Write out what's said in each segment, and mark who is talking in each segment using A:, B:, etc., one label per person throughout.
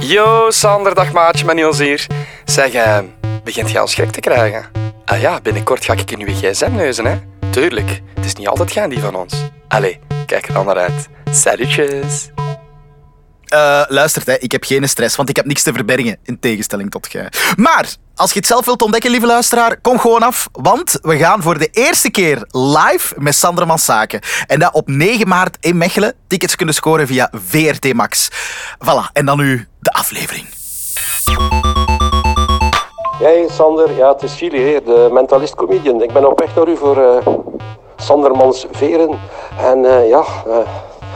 A: Yo, Sander, dag maatje, mijn Niels hier. Zeg, eh, begint jij als gek te krijgen? Ah ja, binnenkort ga ik in uw gsm neuzen, hè? Tuurlijk, het is niet altijd gaan die van ons. Allee, kijk er dan naar uit. Salutjes.
B: Eh, luistert, hè, ik heb geen stress, want ik heb niks te verbergen, in tegenstelling tot jij. Maar, als je het zelf wilt ontdekken, lieve luisteraar, kom gewoon af, want we gaan voor de eerste keer live met Sander Mansaken. En dat op 9 maart in Mechelen. Tickets kunnen scoren via VRT Max. Voilà, en dan nu de aflevering.
C: Jij, Sander, ja, het is Chili, hè, de mentalist comedian. Ik ben op weg naar u voor eh, Sandermans Veren. En eh, ja, eh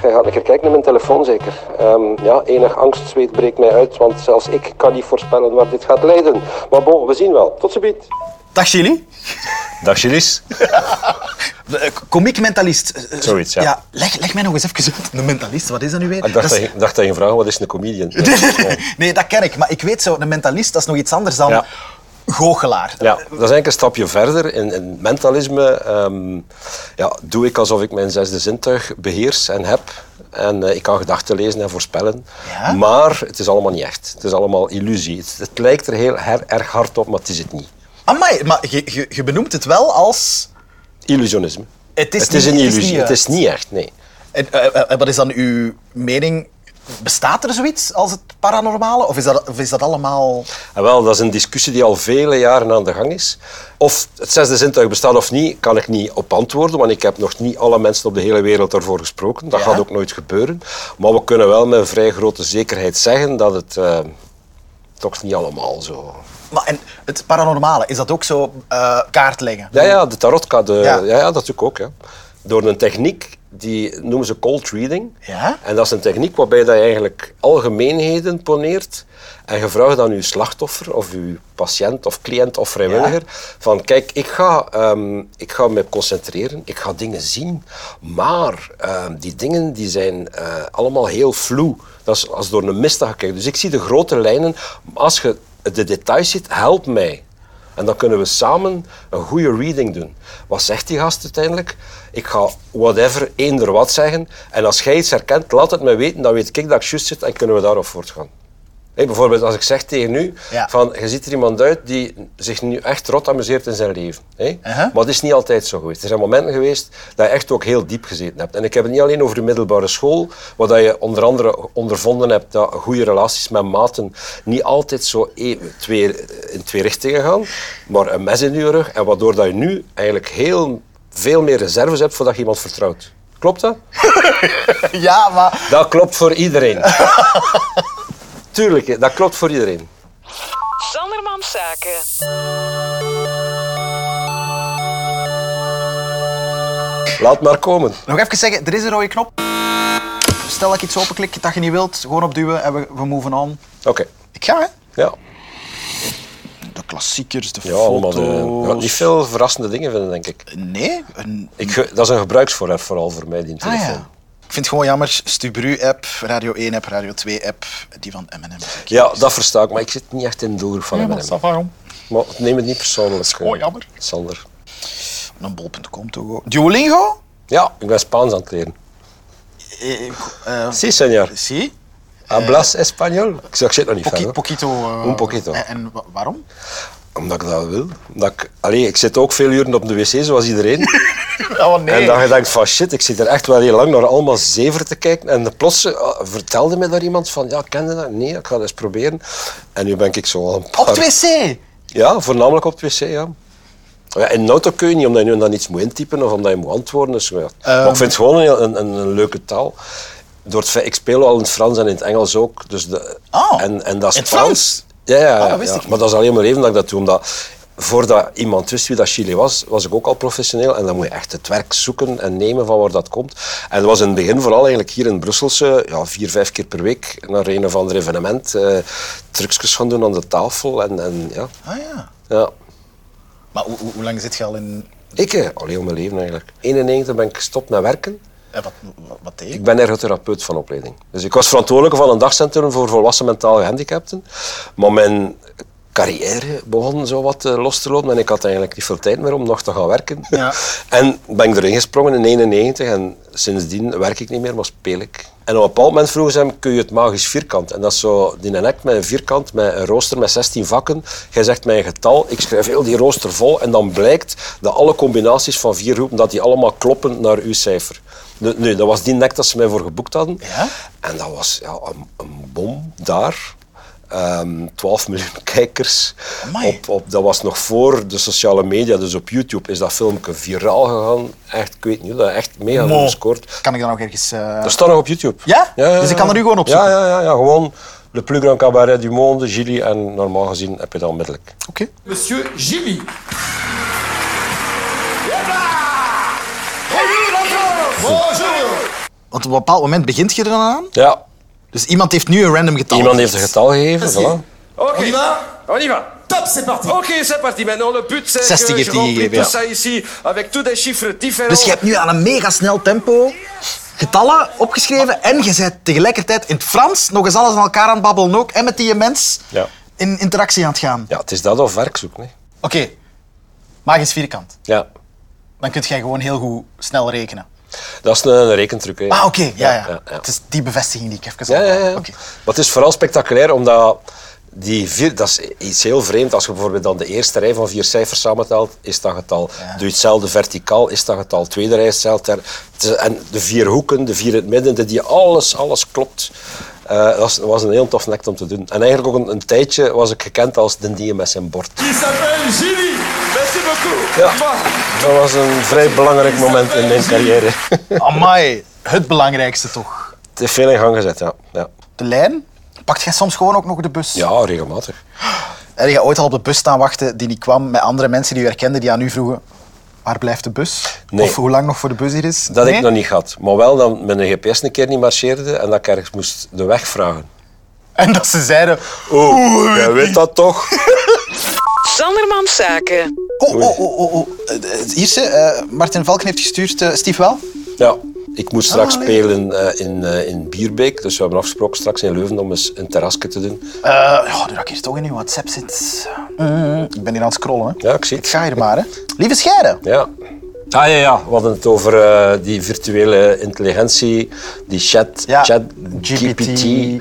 C: jij gaat een keer kijken naar mijn telefoon zeker. Ehm, ja, enig angstzweet breekt mij uit, want zelfs ik kan niet voorspellen waar dit gaat leiden. Maar bon, we zien wel. Tot ziens.
B: Dag Chili.
D: Dag Julius.
B: Eh, Comiek mentalist.
D: Zoiets, ja. Ja,
B: Eh, leg, leg mij nog eens even uit. Een mentalist, wat is dat nu weer?
D: Ik dacht dat je, dacht dat je vraagt wat is een comedian? Ja.
B: Nee, dat ken ik. Maar ik weet zo, een mentalist, dat is nog iets anders dan
D: Ja.
B: goochelaar.
D: Ja, dat is eigenlijk een stapje verder. In, in mentalisme ehm, ja, doe ik alsof ik mijn zesde zintuig beheers en heb. En eh, ik kan gedachten lezen en voorspellen.
B: Ja?
D: Maar het is allemaal niet echt. Het is allemaal illusie. Het, het lijkt er heel her- erg hard op, maar het is het niet.
B: Amai, maar je, je, je benoemt het wel als...
D: Illusionisme.
B: Het is
D: het
B: niet-
D: is een
B: het is
D: illusie.
B: niet,
D: het is niet echt, nee.
B: En, eh, eh, wat is dan uw mening? Bestaat er zoiets als het paranormale? Of is dat, of is dat allemaal...
D: En Ah, wel, dat is een discussie die al vele jaren aan de gang is. Of het zesde zintuig bestaat of niet, kan ik niet op antwoorden, want ik heb nog niet alle mensen op de hele wereld daarvoor gesproken. Dat
B: Ja.
D: gaat ook nooit gebeuren. Maar we kunnen wel met vrij grote zekerheid zeggen dat het eh, toch niet allemaal zo...
B: Maar en het paranormale, is dat ook zo eh kaart leggen?
D: Ja, ja, de tarotkaart, de,
B: Ja.
D: ja. Ja, dat natuurlijk ook. Ja. Door een techniek, die noemen ze cold reading.
B: Ja?
D: En dat is een techniek waarbij dat je eigenlijk algemeenheden poneert. En je vraagt aan je slachtoffer, of je patiënt, of cliënt, of vrijwilliger. Van kijk, ik ga, ehm, ik ga me concentreren, ik ga dingen zien. Maar ehm, die dingen die zijn eh, allemaal heel vloe. Dat is als door een mist dat je kijkt. Dus ik zie de grote lijnen. Als je de details ziet, help mij. En dan kunnen we samen een goede reading doen. Wat zegt die gast uiteindelijk? Ik ga whatever, eender wat zeggen. En als jij iets herkent, laat het me weten. Dan weet ik dat ik juist zit en kunnen we daarop voortgaan. Hé, bijvoorbeeld als ik zeg tegen u,
B: Ja.
D: van, je ziet er iemand uit die zich nu echt rot amuseert in zijn leven. Hé?
B: Uh-huh.
D: Maar het is niet altijd zo geweest. Er zijn momenten geweest dat je echt ook heel diep gezeten hebt. En ik heb het niet alleen over de middelbare school, waar dat je onder andere ondervonden hebt dat goede relaties met maten niet altijd zo e- twee, in twee richtingen gaan, maar een mes in je rug. En waardoor dat je nu eigenlijk heel veel meer reserves hebt voordat je iemand vertrouwt. Klopt dat?
B: Ja, maar...
D: Dat klopt voor iedereen. Tuurlijk, hè, dat klopt voor iedereen.
E: Sandermans Zaken.
D: Laat maar komen.
B: Nog even zeggen, er is een rode knop. Stel dat ik iets openklik dat je niet wilt, gewoon opduwen en we, we moven on.
D: Oké.
B: Ik ga, hè?
D: Ja.
B: De klassiekers, de
D: Ja, allemaal de, je gaat niet veel verrassende dingen vinden, denk ik.
B: Nee, een-
D: ik ge- dat is een gebruiksvoorwerp vooral voor mij, die
B: Ah
D: telefoon.
B: ja. Ik vind het gewoon jammer, Stubru-app, Radio 1-app, Radio 2-app, die van M&M.
D: Ja, dat versta ik, maar ik zit niet echt in de doelgroep van M&M.
B: waarom?
D: Maar neem het niet persoonlijk.
B: gewoon
D: eh,
B: Oh, jammer.
D: Sander.
B: Een bol.com toch ook. Duolingo?
D: Ja, ik ben Spaans aan het leren.
B: Eh, eh,
D: Si, señor.
B: zie.
D: Hablas español? Ik zeg, ik zit nog niet
B: Poqui-
D: verder.
B: poquito. eh,
D: Un poquito.
B: En, en wa- waarom?
D: Omdat ik dat wil. Omdat ik, allee, ik zit ook veel uren op de wc, zoals iedereen.
B: Oh
D: En dan je denkt van shit, ik zit er echt wel heel lang naar allemaal zever te kijken. En plots eh, vertelde me daar iemand van, ja, ken je dat? Nee, ik ga dat eens proberen. En nu ben ik zo al een
B: Op
D: paar...
B: het wc!
D: Ja, voornamelijk op het wc, ja. Ja, in een auto kun je niet, omdat je nu dan iets moet intypen of omdat je moet antwoorden. Dus, ja.
B: Ehm.
D: Maar ik vind het gewoon een, heel- een, een, een leuke taal. Door het feit- ik speel al in het Frans en in het Engels ook. Dus de,
B: Oh,
D: en, en dat
B: in het
D: Spaans-
B: Frans? Oh,
D: Ja, ja, ja,
B: dat wist
D: ja.
B: ik niet.
D: maar dat is alleen mijn leven dat ik dat doe. Omdat voordat iemand wist wie dat Chili was, was ik ook al professioneel. En dan moet je echt het werk zoeken en nemen van waar dat komt. En dat was in het begin vooral eigenlijk hier in Brusselse, ja, vier, vijf keer per week naar een of ander evenement. eh trucjes gaan doen aan de tafel. En, en ja.
B: Ah ja.
D: ja.
B: Maar hoe, hoe, hoe lang zit je al in...
D: Ik, eh, al heel mijn leven eigenlijk. 91 ben ik gestopt met werken.
B: eh, wat, wat, wat deed je?
D: Ik ben ergotherapeut van opleiding. Dus ik was verantwoordelijk van een dagcentrum voor volwassen mentaal gehandicapten. Maar mijn carrière begon zo wat eh, los te lopen en ik had eigenlijk niet veel tijd meer om nog te gaan werken.
B: Ja.
D: en ben ik erin gesprongen in 1991 en sindsdien werk ik niet meer, maar speel ik. En op een bepaald moment vroegen ze hem, kun je het magisch vierkant? En dat is zo, die een act met een vierkant, met een rooster met 16 vakken. Jij zegt mijn getal, ik schrijf heel die rooster vol en dan blijkt dat alle combinaties van vier roepen, dat die allemaal kloppen naar uw cijfer. Nu, nu, dat was die act dat ze mij voor geboekt hadden.
B: Ja?
D: En dat was ja, een, een bom daar. Ehm 12 miljoen kijkers.
B: Amai.
D: Op, op, dat was nog voor de sociale media, dus op YouTube is dat filmpje viraal gegaan. Echt, ik weet niet, hoe dat echt mega
B: Mo.
D: veel gescoord.
B: Kan ik dan nog ergens... eh,
D: Dat staat nog op YouTube.
B: Ja? Dus ik kan er nu gewoon op zoeken?
D: Ja, ja, ja, ja, gewoon Le Plus Grand Cabaret du Monde, Gilly en normaal gezien heb je dat onmiddellijk.
B: Oké.
F: Monsieur Gilly. Bonjour.
B: Want op een bepaald moment begint je er dan aan.
D: Ja,
B: Dus iemand heeft nu een random getal.
D: iemand heeft een getal gegeven. Voilà.
F: On y va
G: On y va
F: Top, c'est parti.
G: Ok, c'est parti. Maintenant, le but, c'est
B: Zestig
G: que
B: heeft
G: je
B: hij
G: remplis
B: gegeven,
G: tout
B: ja.
G: ça ici avec tous des chiffres différents.
B: Dus je hebt nu aan een mega snel tempo getallen opgeschreven en je bent tegelijkertijd in het Frans nog eens alles aan elkaar aan het babbelen ook en met die mens
D: Ja.
B: in interactie aan het gaan.
D: Ja, het is dat of werk zoeken. hè.
B: Oké, magisch vierkant.
D: Ja,
B: Dan kun jij gewoon heel goed snel rekenen.
D: dat is een, een rekentruc. hè.
B: Ah, oké, ja, ja.
D: ja, ja.
B: Het is die bevestiging die ik even
D: Ja, ja, ja.
B: had. Oké.
D: Maar het is vooral spectaculair omdat die vier, dat is iets heel vreemd. Als je bijvoorbeeld dan de eerste rij van vier cijfers samentelt, is dat getal. Doe je hetzelfde verticaal, is dat getal. Tweede rij is hetzelfde. Het is- En de vier hoeken, de vier in het midden, de- die alles, alles klopt. Eh, dat was- was een heel tof nekt om te doen. En eigenlijk ook een, een tijdje was ik gekend als de die met zijn bord.
F: Il s'appelle Gilly.
G: Merci beaucoup.
D: Ja,
G: Moi.
D: dat was een vrij belangrijk moment in mijn carrière.
B: Amai, het belangrijkste toch.
D: Het heeft veel in gang gezet, ja. Ja,
B: De lijn? Pakt jij soms gewoon ook nog de bus?
D: ja regelmatig.
B: Heb je ooit al op de bus staan wachten die niet kwam met andere mensen die je herkende die aan u vroegen waar blijft de bus?
D: Nee.
B: Of hoe lang nog voor de bus hier is?
D: Dat
B: Nee?
D: ik nog niet had. Maar wel dat mijn GPS een keer niet marcheerde en dat ik ergens moest de weg vragen.
B: En dat ze zeiden...
D: Oh, jij weet dat toch?
E: Sandermans Zaken.
B: Oh, oh, oh, oh, oh. Eh, eh, Hier, ze, eh, Martin Valken heeft gestuurd. eh, Steve wel?
D: ja. Ik moest straks
B: Ah, nee.
D: spelen eh, in, eh, in Bierbeek, dus we hebben afgesproken straks in Leuven om eens een terrasje te doen.
B: Eh, oh, nu dat ik hier toch in uw WhatsApp zit. Mm, ik ben hier aan het scrollen. Hè.
D: Ja, ik zie
B: Ik
D: het.
B: ga hier maar. Hè. Lieve scheiden.
D: Ja. Ah ja, ja, we hadden het over eh, die virtuele intelligentie, die chat,
B: Ja,
D: chat
B: GPT.
D: GPT. Eh,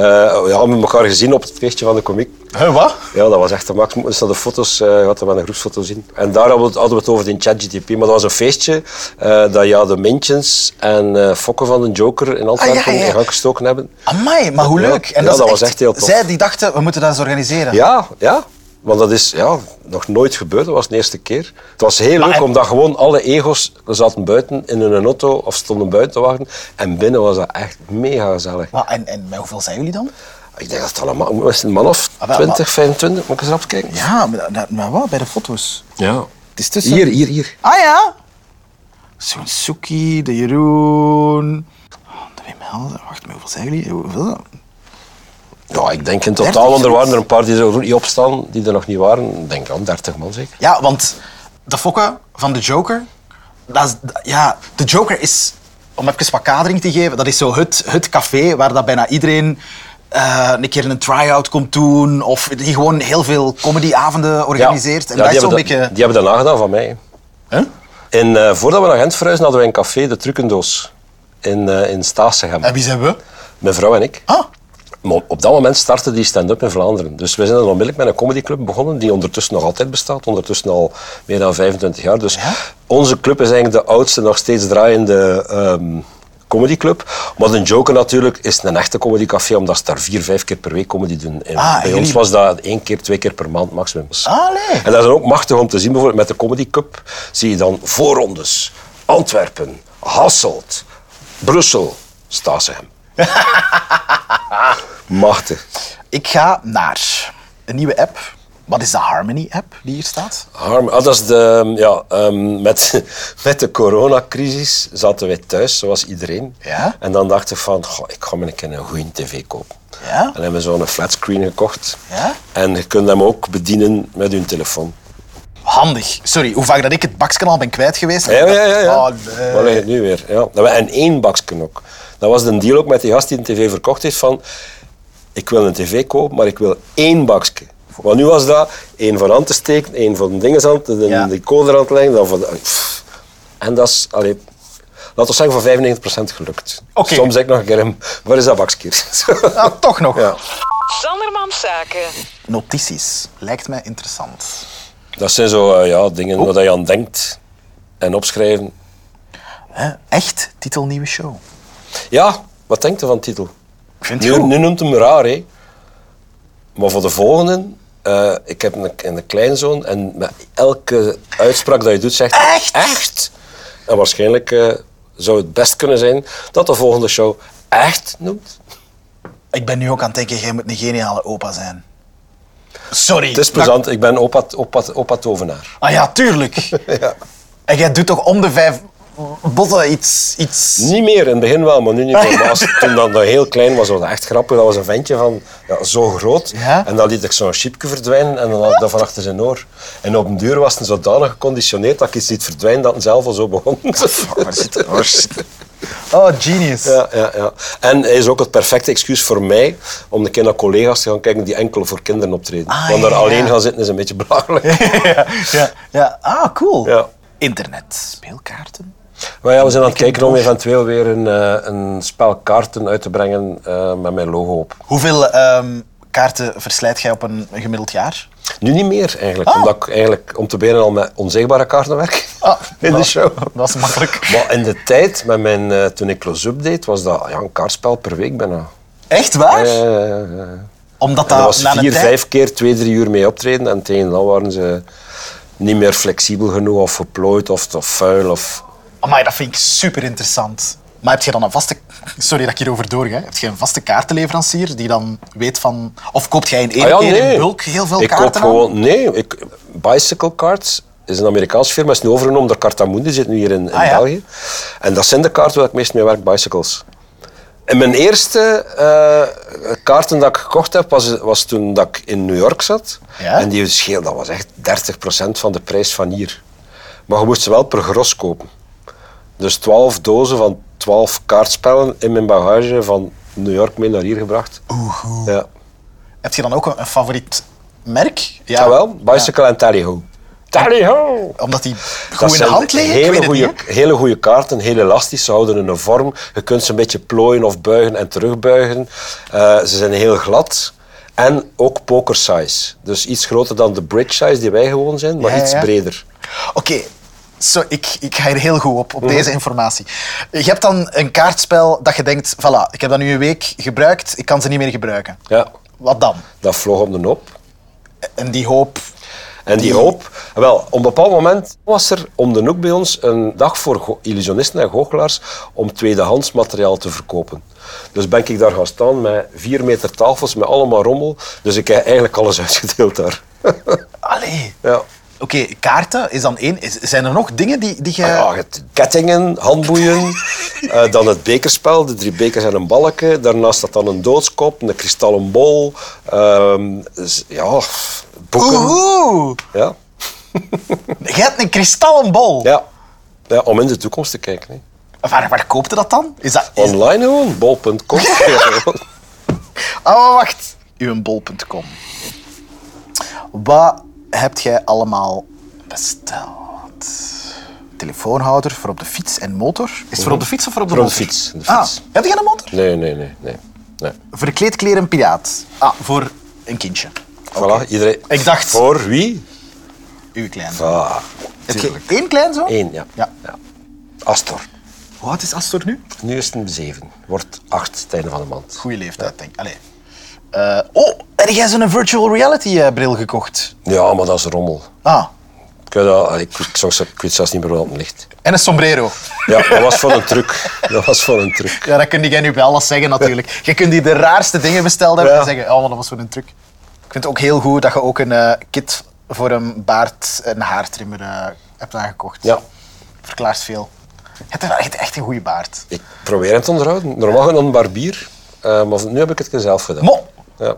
D: ja, we hebben elkaar gezien op het feestje van de komiek.
B: Huh, wat?
D: Ja, dat was echt de max. Moet eens naar de foto's, eh, je gaat dat wel een groepsfoto zien. En daar hadden we het, hadden we het over in ChatGTP. Maar dat was een feestje eh, dat ja, de Mintjes en eh, Fokken van de Joker in Antwerpen
B: Ah, ja, ja.
D: in gang gestoken hebben.
B: Amai, maar hoe
D: Ja.
B: leuk.
D: Ja,
B: is
D: dat was echt heel tof.
B: Zij die dachten, we moeten dat eens organiseren.
D: Ja, ja. Want dat is ja, nog nooit gebeurd. Dat was de eerste keer. Het was heel leuk,
B: en-
D: omdat gewoon alle ego's zaten buiten in hun auto of stonden buiten te wachten. En binnen was dat echt mega gezellig.
B: Maar, en, en met hoeveel zijn jullie dan?
D: Ik denk dat het allemaal... Was het een man of
B: Ah, wel,
D: 20, 25? Moet ik eens rap kijken?
B: Ja, maar, maar, maar wat? Bij de foto's.
D: Ja.
B: Het is tussen...
D: Hier, hier, hier.
B: Ah ja? Zo'n Suki, de Jeroen. Oh, De Wim Helden. Wacht, maar hoeveel zijn jullie? Hoeveel is dat?
D: Ja, ik denk in
B: 30
D: totaal, want er
B: zoiets.
D: waren er een paar die er niet op staan, die er nog niet waren. Ik denk dan 30 man zeker.
B: Ja, want de fokken van de Joker. Dat is, dat- ja, de Joker is, om even wat kadering te geven, dat is zo het, het café waar dat bijna iedereen eh, een keer een try-out komt doen. Of die gewoon heel veel comedyavonden organiseert. En
D: Ja,
B: dat is
D: die,
B: zo'n
D: hebben dat,
B: beetje.
D: die hebben dat nagedaan van mij.
B: Huh?
D: En eh, voordat we naar Gent verhuisden, hadden wij een café, de Trucendoos, in, eh, in Staatssegem.
B: En wie zijn we?
D: Mijn vrouw en ik.
B: Ah,
D: Maar op dat moment startte die stand-up in Vlaanderen. Dus we zijn dan onmiddellijk met een comedyclub begonnen, die ondertussen nog altijd bestaat. Ondertussen al meer dan 25 jaar. Dus onze club is eigenlijk de oudste, nog steeds draaiende ehm comedyclub. Maar de Joker natuurlijk is een echte comedycafé, omdat ze daar vier, vijf keer per week comedy doen. En
B: Ah, en
D: bij ons
B: jullie-
D: was dat één keer, twee keer per maand maximum.
B: allee.
D: En dat is dan ook machtig om te zien. Bijvoorbeeld met de Comedy Cup zie je dan voorrondes. Antwerpen, Hasselt, Brussel, Staatssegem. machtig.
B: Ik ga naar een nieuwe app. Wat is de Harmony-app die hier staat?
D: Harm, ah, dat is de, ja, ehm, met, met de coronacrisis zaten wij thuis, zoals iedereen.
B: Ja.
D: En dan dacht ik van, goh, ik ga me een keer een goede tv kopen.
B: Ja.
D: En hebben we zo'n flatscreen gekocht.
B: Ja.
D: En je kunt hem ook bedienen met je telefoon.
B: Handig. Sorry, hoe vaak dat ik het bakskanaal ben kwijt geweest.
D: Ja, ja, ja. ja.
B: Oh, nee.
D: Waar ligt het nu weer? Ja. Dat we- En één baksken ook. Dat was de deal ook met die gast die een tv verkocht heeft van... Ik wil een tv kopen, maar ik wil één baksken. Want nu was dat één van aan te steken, één van de dingen aan te de,
B: Ja.
D: de code er aan te leggen. Dan van, pff. en dat is, allee, laten we zeggen, van 95% gelukt.
B: Oké.
D: Soms zeg ik nog een keer, waar is dat bakskier?
B: Ah, toch nog.
D: ja.
E: Sanderman Zaken.
B: Notities. Lijkt mij interessant.
D: Dat zijn zo eh, ja, dingen waar je aan denkt en opschrijven.
B: Hè? Echt? Titel nieuwe show.
D: Ja, wat denkt u van de titel?
B: Ik vind het
D: Nu,
B: goed.
D: nu noemt hem raar, hè. Maar voor de volgende, eh, ik heb een, een kleinzoon en met elke uitspraak dat je doet zegt hij,
B: Echt?
D: Echt? En waarschijnlijk eh, zou het best kunnen zijn dat de volgende show echt noemt.
B: Ik ben nu ook aan het denken, jij moet een geniale opa zijn. Sorry.
D: Het is plezant, ik ben opa, opa, opa tovenaar.
B: Ah ja, tuurlijk. En jij doet toch om de vijf botten iets... iets...
D: Niet meer, in het begin wel, maar nu niet meer. Maar als- toen dat nog heel klein was, was dat echt grappig. Dat was een ventje van ja, zo groot.
B: Ja?
D: En dan liet ik zo'n chipje verdwijnen en dan had ik dat van achter zijn oor. En op een duur was hij zodanig geconditioneerd dat ik iets liet verdwijnen dat hij zelf al zo begon.
B: Waar zit het? Waar zit het? Oh, genius.
D: Ja, ja, ja. En hij is ook het perfecte excuus voor mij om een keer naar collega's te gaan kijken die enkel voor kinderen optreden.
B: Ah,
D: Want
B: ja,
D: daar
B: ja,
D: alleen
B: ja.
D: gaan zitten is een beetje belachelijk.
B: ja, ja, ja. Ah, cool.
D: Ja.
B: Internet, speelkaarten.
D: Maar ja, we zijn aan het kijken om eventueel weer een, eh, een spel kaarten uit te brengen eh, met mijn logo op.
B: Hoeveel ehm, kaarten verslijt jij op een gemiddeld jaar?
D: Nu niet meer eigenlijk,
B: Ah.
D: omdat ik eigenlijk om te beginnen al met onzichtbare kaarten werk
B: Ah,
D: in de
B: dat-
D: show.
B: Dat is makkelijk.
D: Maar in de tijd, met mijn, eh, toen ik close-up deed, was dat ja, een kaartspel per week bijna.
B: Echt waar?
D: Ja, ja, ja, ja.
B: Omdat
D: En
B: dat,
D: Eh, dat was
B: Ah, na een
D: vier,
B: tijd-
D: vijf keer twee, drie uur mee optreden. En tegen dan waren ze niet meer flexibel genoeg of geplooid of, of vuil. Of...
B: Amai, dat vind ik super interessant. Maar heb je dan een vaste... Sorry dat ik hierover doorga. Heb je een vaste kaartenleverancier die dan weet van... Of koopt jij in één
D: Ah ja,
B: keer
D: nee.
B: in bulk heel veel
D: ik koop
B: kaarten aan?
D: gewoon, Nee, ik, Bicycle Cards is een Amerikaanse firma. is nu overgenomen door Cartamundi, zit nu hier in, in
B: Ah, ja.
D: België. En dat zijn de kaarten waar ik meest mee werk, bicycles. En mijn eerste eh, kaarten dat ik gekocht heb, was, was toen dat ik in New York zat.
B: Ja?
D: En die scheel, dat was echt 30% van de prijs van hier. Maar je moest ze wel per gros kopen. Dus 12 dozen van 12 kaartspellen in mijn bagage van New York mee naar hier gebracht. Oeh. Ja.
B: Heb je dan ook een, een favoriet merk? Ja,
D: Jawel, bicycle en tally ho. Tally ho!
B: Omdat die goed in de hand liggen? Ik weet
D: Hele
B: het
D: goede,
B: niet, hè.
D: hele goede kaarten, heel elastisch. Ze houden een vorm. Je kunt ze een beetje plooien of buigen en terugbuigen. Eh, ze zijn heel glad. En ook poker size. Dus iets groter dan de bridge size die wij gewoon zijn, maar
B: Ja, ja,
D: iets
B: ja.
D: breder.
B: Oké, zo, ik, ik ga hier heel goed op, op
D: Mhm.
B: deze informatie. Je hebt dan een kaartspel dat je denkt... Voilà, ik heb dat nu een week gebruikt. Ik kan ze niet meer gebruiken.
D: Ja,
B: Wat dan?
D: dat vloog om de nop.
B: En die hoop...
D: En die hoop, wel, op een bepaald moment was er om de hoek bij ons een dag voor go- illusionisten en goochelaars om tweedehands materiaal te verkopen. Dus ben ik daar gaan staan met vier meter tafels, met allemaal rommel. Dus ik heb eigenlijk alles uitgedeeld daar.
B: Allee.
D: Ja.
B: Oké, kaarten is dan één. Is- zijn er nog dingen die, die je...
D: Ah Ja, het- kettingen, handboeien, eh, dan het bekerspel, de drie bekers en een balken. Daarnaast staat dan een doodskop, een kristallen bol, ehm, z- ja, boeken.
B: Oeh,
D: Ja,
B: je hebt een kristallen bol.
D: ja. ja, om in de toekomst te kijken. Hè.
B: Waar, waar koopt je dat dan? Is dat... Is,
D: Online gewoon, bol.com.
B: oh, wacht. Uwbol.com. Wat heb jij allemaal besteld? Telefoonhouder voor op de fiets en motor. Is het voor op de fiets of voor op de
D: Voor op de
B: motor?
D: fiets, de fiets.
B: Ah, heb jij een motor?
D: nee, nee, nee. nee. nee.
B: Verkleed kleren piraat. Ah, voor een kindje.
D: Voilà, iedereen.
B: Ik dacht-
D: Voor wie?
B: Uw klein.
D: Ah,
B: Heb je één kleinzoon?
D: één, ja.
B: Ja.
D: Astor.
B: Hoe oud is Astor nu?
D: Nu is het een zeven. Wordt acht, het einde van de maand.
B: Goeie leeftijd, denk ik. Allee. Eh, oh, heb jij zo'n virtual reality eh, bril gekocht?
D: Ja, maar dat is rommel.
B: Ah,
D: Ik, weet dat, ik, ik, zou- ik weet zelfs niet meer wat het ligt.
B: en een sombrero.
D: Ja, dat was voor een truc. Dat was voor een truc.
B: Ja, dat kun jij nu bij alles zeggen natuurlijk. Je kunt hier de raarste dingen besteld hebben
D: Ja.
B: en zeggen, oh, maar dat was voor een truc. Ik vind het ook heel goed dat je ook een eh, kit voor een baard en haartrimmer eh, hebt aangekocht.
D: Ja.
B: Verklaart veel. Je hebt een- je hebt echt een goede baard.
D: Ik probeer het te onderhouden. Normaal ging dan een barbier, eh, maar nu heb ik het zelf gedaan.
B: Mo,
D: Ja,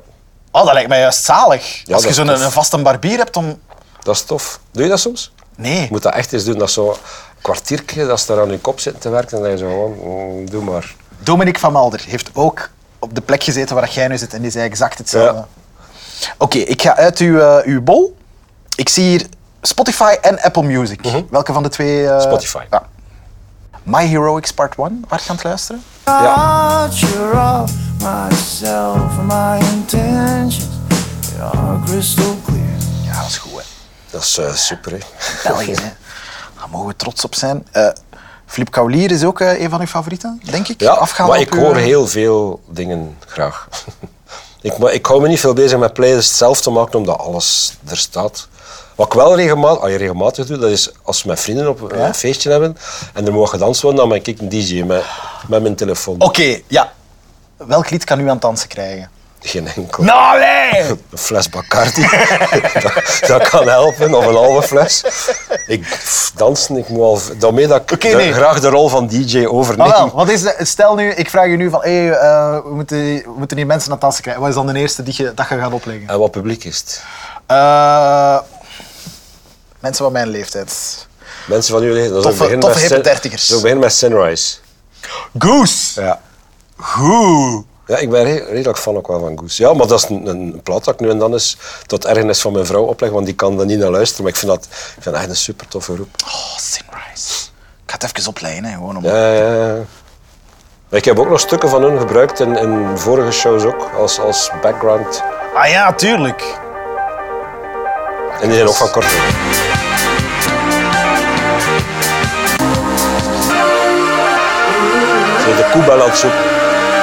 B: oh, dat lijkt mij juist zalig. Als
D: dat
B: je
D: is
B: zo'n
D: tof.
B: een vaste barbier hebt om...
D: dat is tof. Doe je dat soms?
B: Nee.
D: Je moet dat echt eens doen. Dat is zo'n kwartiertje, dat ze daar aan je kop zitten te werken. En dan denk je zo gewoon, mm, doe maar.
B: Dominic van Malder heeft ook op de plek gezeten waar jij nu zit en die zei exact hetzelfde.
D: Ja.
B: Oké, ik ga uit uw, eh, uw bol. Ik zie hier Spotify en Apple Music. Welke van de twee? eh,
D: Mhm. Spotify.
B: Ja. My Heroics Part 1, waar je aan het luisteren?
D: Ja,
H: You're of myself and my intentions they are crystal clear.
B: Ja, dat is goed, hè.
D: dat is eh, super. Hè.
B: België, hè. Daar mogen we trots op zijn. Eh Filip Kaulier is ook eh, een van uw favorieten, denk ik.
D: Ja,
B: Afgaande
D: maar
B: op
D: ik
B: uw-
D: hoor heel veel dingen graag. ik, maar ik hou me niet veel bezig met playlists zelf te maken, omdat alles er staat. Wat ik wel regelmatig, als je regelmatig doet, dat is als we met vrienden op een feestje hebben en er mogen gedanst worden, dan ben ik een DJ met, met mijn telefoon.
B: Oké, ja. Welk lied kan u aan het dansen krijgen?
D: Geen enkel.
B: Nou, nee!
D: Een fles Bacardi, dat, dat kan helpen, of een halve fles. Ik pff, dansen, ik moet al... Daarmee dat ik
B: Oké,
D: de-
B: nee.
D: graag de rol van DJ overneem.
B: Maar Ah, wel, wat is de, stel nu, ik vraag je nu van, hey, eh, we, moeten, we moeten die mensen aan het dansen krijgen. Wat is dan de eerste die je, dat je gaat opleggen?
D: En wat publiek is het?
B: Eh, mensen van mijn leeftijd.
D: Mensen van jullie, dat is ook
B: Toffe-
D: begin
B: toffe
D: met
B: hippe
D: Sun-
B: dertigers.
D: dat is ook begin met Sunrise.
B: Goose!
D: Ja.
B: Goe!
D: Ja, ik ben re- redelijk fan ook wel van Goose. Ja, maar dat is een, een plaat dat ik nu en dan eens tot ergernis van mijn vrouw opleg, want die kan daar niet naar luisteren. Maar ik vind dat, ik vind dat echt een super toffe groep.
B: Oh, Sunrise. Ik ga het even opleiden, hè, gewoon om...
D: Ja, ja, ja. Ik heb ook nog stukken van hun gebruikt in, in vorige shows ook, als, als background.
B: Ah ja, tuurlijk.
D: En die zijn ook van Kortrijk. Zo De koebel aan het zoeken.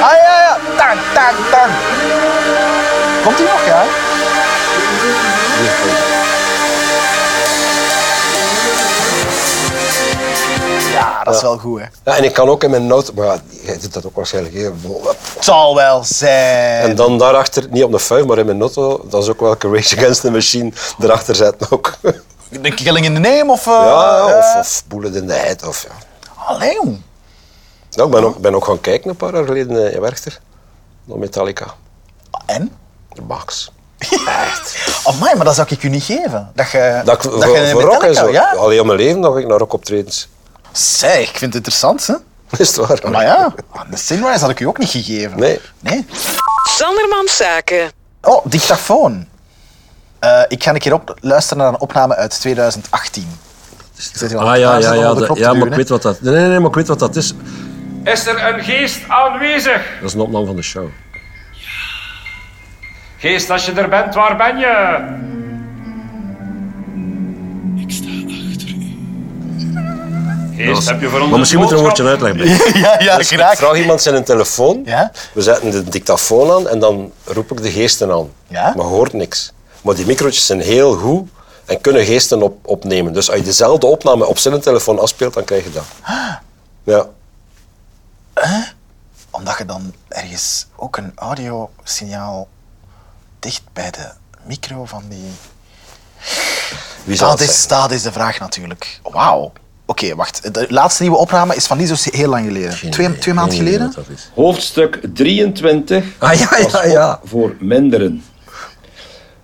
B: Ah ja, ja. Tang, tang, tang. Komt ie nog, ja? Ja, dat is wel goed, hè.
D: Ja, en ik kan ook in mijn noot, maar ja, jij doet dat ook waarschijnlijk heel
B: Het zal wel zijn.
D: En dan daarachter, niet op de vuil, maar in mijn notto, dat is ook welke Rage Against the Machine erachter zetten ook.
B: De killing in the name, of... eh,
D: Ja, of,
B: eh,
D: of Bullet in the Head. Of, ja.
B: Allee, jong.
D: Ja, ik ben ook, ben ook gaan kijken een paar jaar geleden eh, in Werchter. Naar Metallica.
B: En?
D: De Max.
B: Amai, maar dat zou ik u niet geven. Dat je
D: Dat ik voor,
B: je
D: voor rock en
B: Metallica-
D: zo.
B: Ja?
D: Al heel mijn leven nog ik naar rock optredens.
B: Zeg, ik vind het interessant, hè.
D: Is het waar?
B: Maar ja, aan de Sunrise had ik u ook niet gegeven.
D: Nee.
B: Nee.
E: Sandermans Zaken.
B: Oh, dictafoon. Eh, ik ga een keer op luisteren naar een opname uit Dus 2018. Zit je al
D: Ah ja,
B: klaar? Zit
D: ja,
B: al
D: ja,
B: op de
D: dat-
B: knop te
D: ja, maar
B: duwen,
D: ik
B: hè?
D: weet wat dat... Nee, nee, nee, maar ik weet wat dat is.
I: Is er een geest aanwezig?
D: Dat is een opname van de show.
I: Geest, als je er bent, waar ben je? Ik sta achter u. Geest, heb je voor ons
D: Maar misschien moet er een woordje
I: boodschap?
D: uitleg bij.
B: Ja, ja,
D: Dus ik
B: graag.
D: vraag iemand zijn telefoon.
B: Ja?
D: We zetten de dictafoon aan en dan roep ik de geesten aan.
B: Ja?
D: Maar hoort niks. Maar die microotjes zijn heel goed en kunnen geesten op, opnemen. Dus als je dezelfde opname op zijn telefoon afspeelt, dan krijg je dat.
B: Ah.
D: Ja.
B: Omdat je dan ergens ook een audiosignaal dicht bij de micro van die...
D: Wie zou
B: Dat
D: het
B: is,
D: zeggen?
B: dat is de vraag natuurlijk. Wauw. Oké, wacht. De laatste nieuwe opname is van niet zo heel lang geleden. Twee, twee maanden
D: Geen idee
B: geleden?
D: wat dat is.
J: Hoofdstuk 23
D: Ah ja, ja, ja.
J: voor minderen.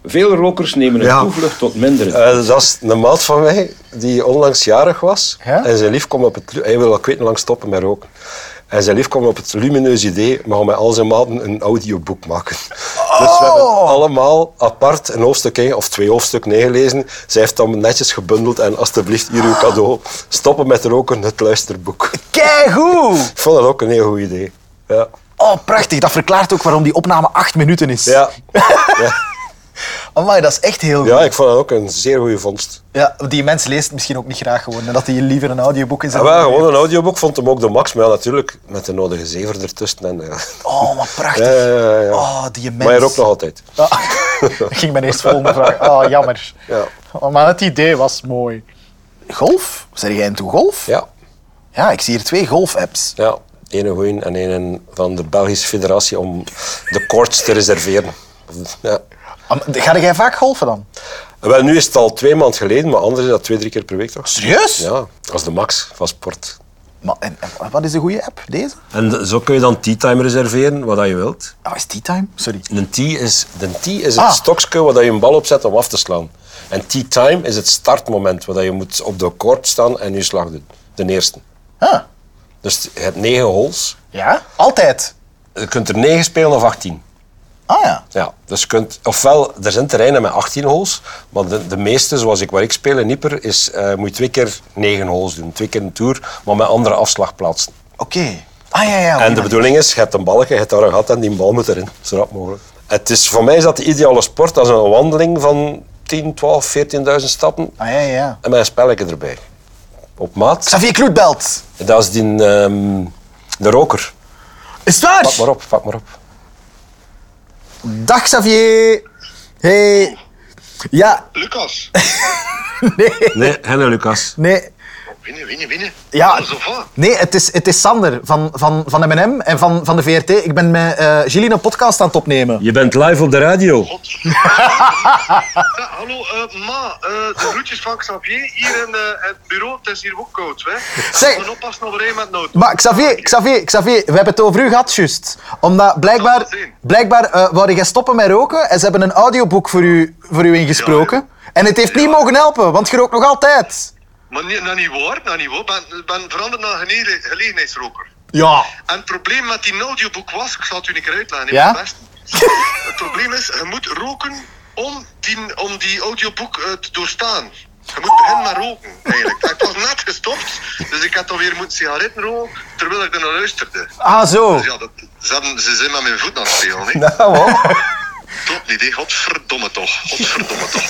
J: Veel rokers nemen een
D: Ja.
J: toevlucht tot minderen.
D: Eh, dat is een maat van mij die onlangs jarig was.
B: Ja?
D: En zijn lief kwam op het... lu- Hij wil al kweten lang stoppen met roken. En zijn lief kwam op het lumineus idee, we gaan met al zijn maten een audioboek maken. Dus we hebben allemaal apart een hoofdstuk één of twee hoofdstukken neergelezen. Zij heeft dan netjes gebundeld en alstublieft hier uw cadeau. Stoppen met roken, het luisterboek.
B: Keigoed!
D: Ik vond dat ook een heel goed idee. Ja.
B: Oh, prachtig. Dat verklaart ook waarom die opname acht minuten is.
D: Ja.
B: Amai, dat is echt heel goed.
D: ja, ik vond dat ook een zeer goede vondst.
B: Ja, die mens leest misschien ook niet graag gewoon. En dat hij liever een audioboek is.
D: Ja, wel, gewoon een audioboek vond hem ook de max, maar ja, natuurlijk met de nodige zever ertussen. En, eh, ja.
B: Oh, maar prachtig.
D: Ja, ja, ja, ja.
B: Oh, die mens.
D: Maar hij rookt nog altijd.
B: Ah, dat ging mijn eerste volgende vraag. Oh, jammer.
D: Ja.
B: Oh, maar het idee was mooi. Golf? Zijn jij into golf?
D: Ja,
B: Ja, ik zie hier twee golf-apps.
D: ja. Ene goeie en een van de Belgische Federatie om de koorts te reserveren. Ja.
B: Am- Ga jij vaak golfen dan?
D: Wel, nu is het al twee maanden geleden, maar anders is dat twee, drie keer per week toch?
B: Serieus?
D: Ja, dat is de max van sport.
B: Maar, en, en wat is de goede app? Deze?
D: En zo kun je dan tea time reserveren, wat je wilt.
B: Ah, is tea time? Sorry.
D: Een tea is, de tea is het
B: Ah.
D: stokje waar je een bal op zet om af te slaan. En tea time is het startmoment waar je moet op de koord staan en je slag doen. De eerste.
B: Ah,
D: Dus je hebt negen holes.
B: ja? Altijd.
D: Je kunt er negen spelen of achttien.
B: Ah ja.
D: Ja, dus je kunt, ofwel, er zijn terreinen met 18 holes, maar de, de meeste, zoals ik waar ik speel in Ieper, is, eh, moet je twee keer 9 holes doen. Twee keer een tour, maar met andere afslagplaatsen.
B: Oké. Ah ja, ja.
D: En de bedoeling is, je hebt een balken, je hebt daar een gat en die bal moet erin, zo rap mogelijk. Het is, voor mij is dat de ideale sport, dat is een wandeling van 10, 12, 14.000 stappen
B: Ah ja, ja.
D: en met een spelletje erbij. Op maat.
B: Xavier Kloet belt.
D: Dat is die, ehm, de roker.
B: Is het waar?
D: Pak maar op, pak maar op.
B: Dag Xavier. Hey. Ja,
K: Lucas.
D: Nee, Henne Lucas.
B: nee.
K: Winnen, winnen, winnen.
B: Ja,
K: Alles of wat?
B: nee, het is, het is Sander van, van, van M&M en van, van de VRT. Ik ben met eh Gilles een podcast aan het opnemen.
D: Je bent live op de radio.
K: Ja, hallo, eh, ma, eh, de groetjes van Xavier hier in eh, het bureau. Het is hier ook koud, hè?
B: Zeg.
K: We moeten oppassen op rij met nood.
B: Maar Xavier, Xavier, Xavier, we hebben het over u gehad, juist. Omdat
K: Dat
B: blijkbaar,
K: zal zien.
B: blijkbaar eh wou jij stoppen met roken en ze hebben een audioboek voor u, voor u ingesproken. En het heeft niet mogen helpen, want je rookt nog altijd.
K: Maar nee, dat niet waar, dat niet waar. Ik ben, ik ben veranderd naar een gene- gelegenheidsroker.
B: Ja.
K: En het probleem met die audioboek was, ik zal het u een keer uitleggen, in
B: Ja?
K: mijn best. Het probleem is, je moet roken om die, om die audioboek eh, te doorstaan. Je moet beginnen met roken, eigenlijk. Ik was net gestopt, dus ik had alweer moeten sigaretten roken, terwijl ik er naar luisterde.
B: Ah, zo.
K: Dus ja, dat, ze, hebben- ze zijn met mijn voet aan het spelen, hè.
B: Nou, hoor.
K: Klopt niet, hè. Godverdomme toch. Godverdomme toch.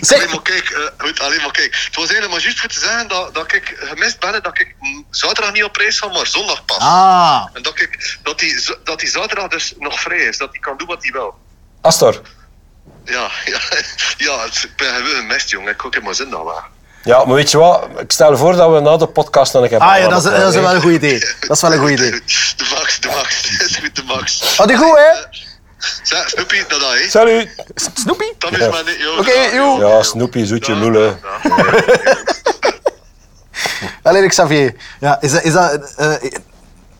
B: Zeg-
K: Alleen maar kijk, eh, goed, alleen maar kijk. Het was helemaal juist voor te zeggen dat, dat ik gemist ben, hè, dat ik mm, zaterdag niet op reis ga, maar zondag pas.
B: Ah.
K: En dat, ik, dat, die, z- dat die zaterdag dus nog vrij is, dat hij kan doen wat hij wil.
D: Astor.
K: Ja, ja, ja het, ik ben gewoon gemist, jongen. Ik ook in mijn zin dan wel.
D: Ja, maar weet je wat? Ik stel voor dat we na de podcast nog een keer
B: Ah ja,
D: praten
B: dat is,
D: elkaar,
B: dat is
D: hè.
B: wel een goed idee. Dat is wel een goed idee.
K: De max, de max. is goed, de max.
B: Had je goed,
D: Eh,
B: hè?
K: Zeg, Snoepie, dat dat, hè.
D: Salut.
B: Snoepie?
K: Dat is maar niet, joh.
B: Oké, joh.
D: Ja, Snoepie, zoetje loelen.
B: Allee, Xavier. Ja, is dat... Is dat eh,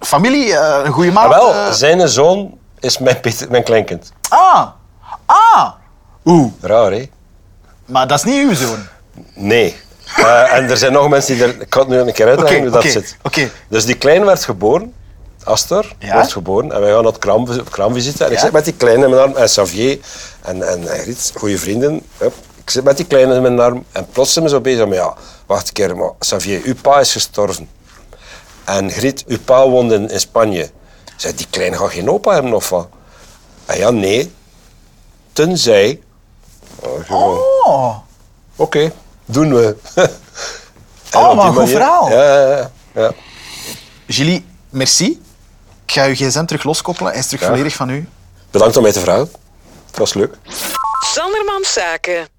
B: familie? eh, een goede maat?
D: Ah, wel,
B: eh?
D: zijn zoon is mijn, pet- mijn kleinkind.
B: ah. Ah. Oeh.
D: Raar, hè?
B: Maar dat is niet uw zoon.
D: Nee. Eh, en er zijn nog mensen die er... Ik kan het nu een keer uitleggen
B: Oké,
D: hoe dat
B: oké,
D: zit.
B: oké.
D: Dus die klein werd geboren. Astor
B: Ja?
D: werd geboren. En wij gaan naar het kraam, kraamvisite. En ik
B: Ja?
D: zit met die kleine in mijn arm. En Xavier en, en, en Griet, goede vrienden. Hup. Ik zit met die kleine in mijn arm. En plots zijn we zo bezig. Maar ja, wacht een keer. Maar Xavier, uw pa is gestorven. En Griet, uw pa woonde in, in Spanje. Ik Zei, die kleine gaat geen opa hebben of wat? En ja, nee. Tenzij... Oh, gewoon.
B: Oh.
D: Oké, doen we. En
B: Oh,
D: op
B: maar een
D: die
B: goed verhaal.
D: Ja, ja, ja, ja.
B: Julie, merci. Ik ga uw gsm terug loskoppelen. Hij is terug volledig van u.
D: Bedankt om mij te vragen. Het was leuk.
E: Sanderman Zaken.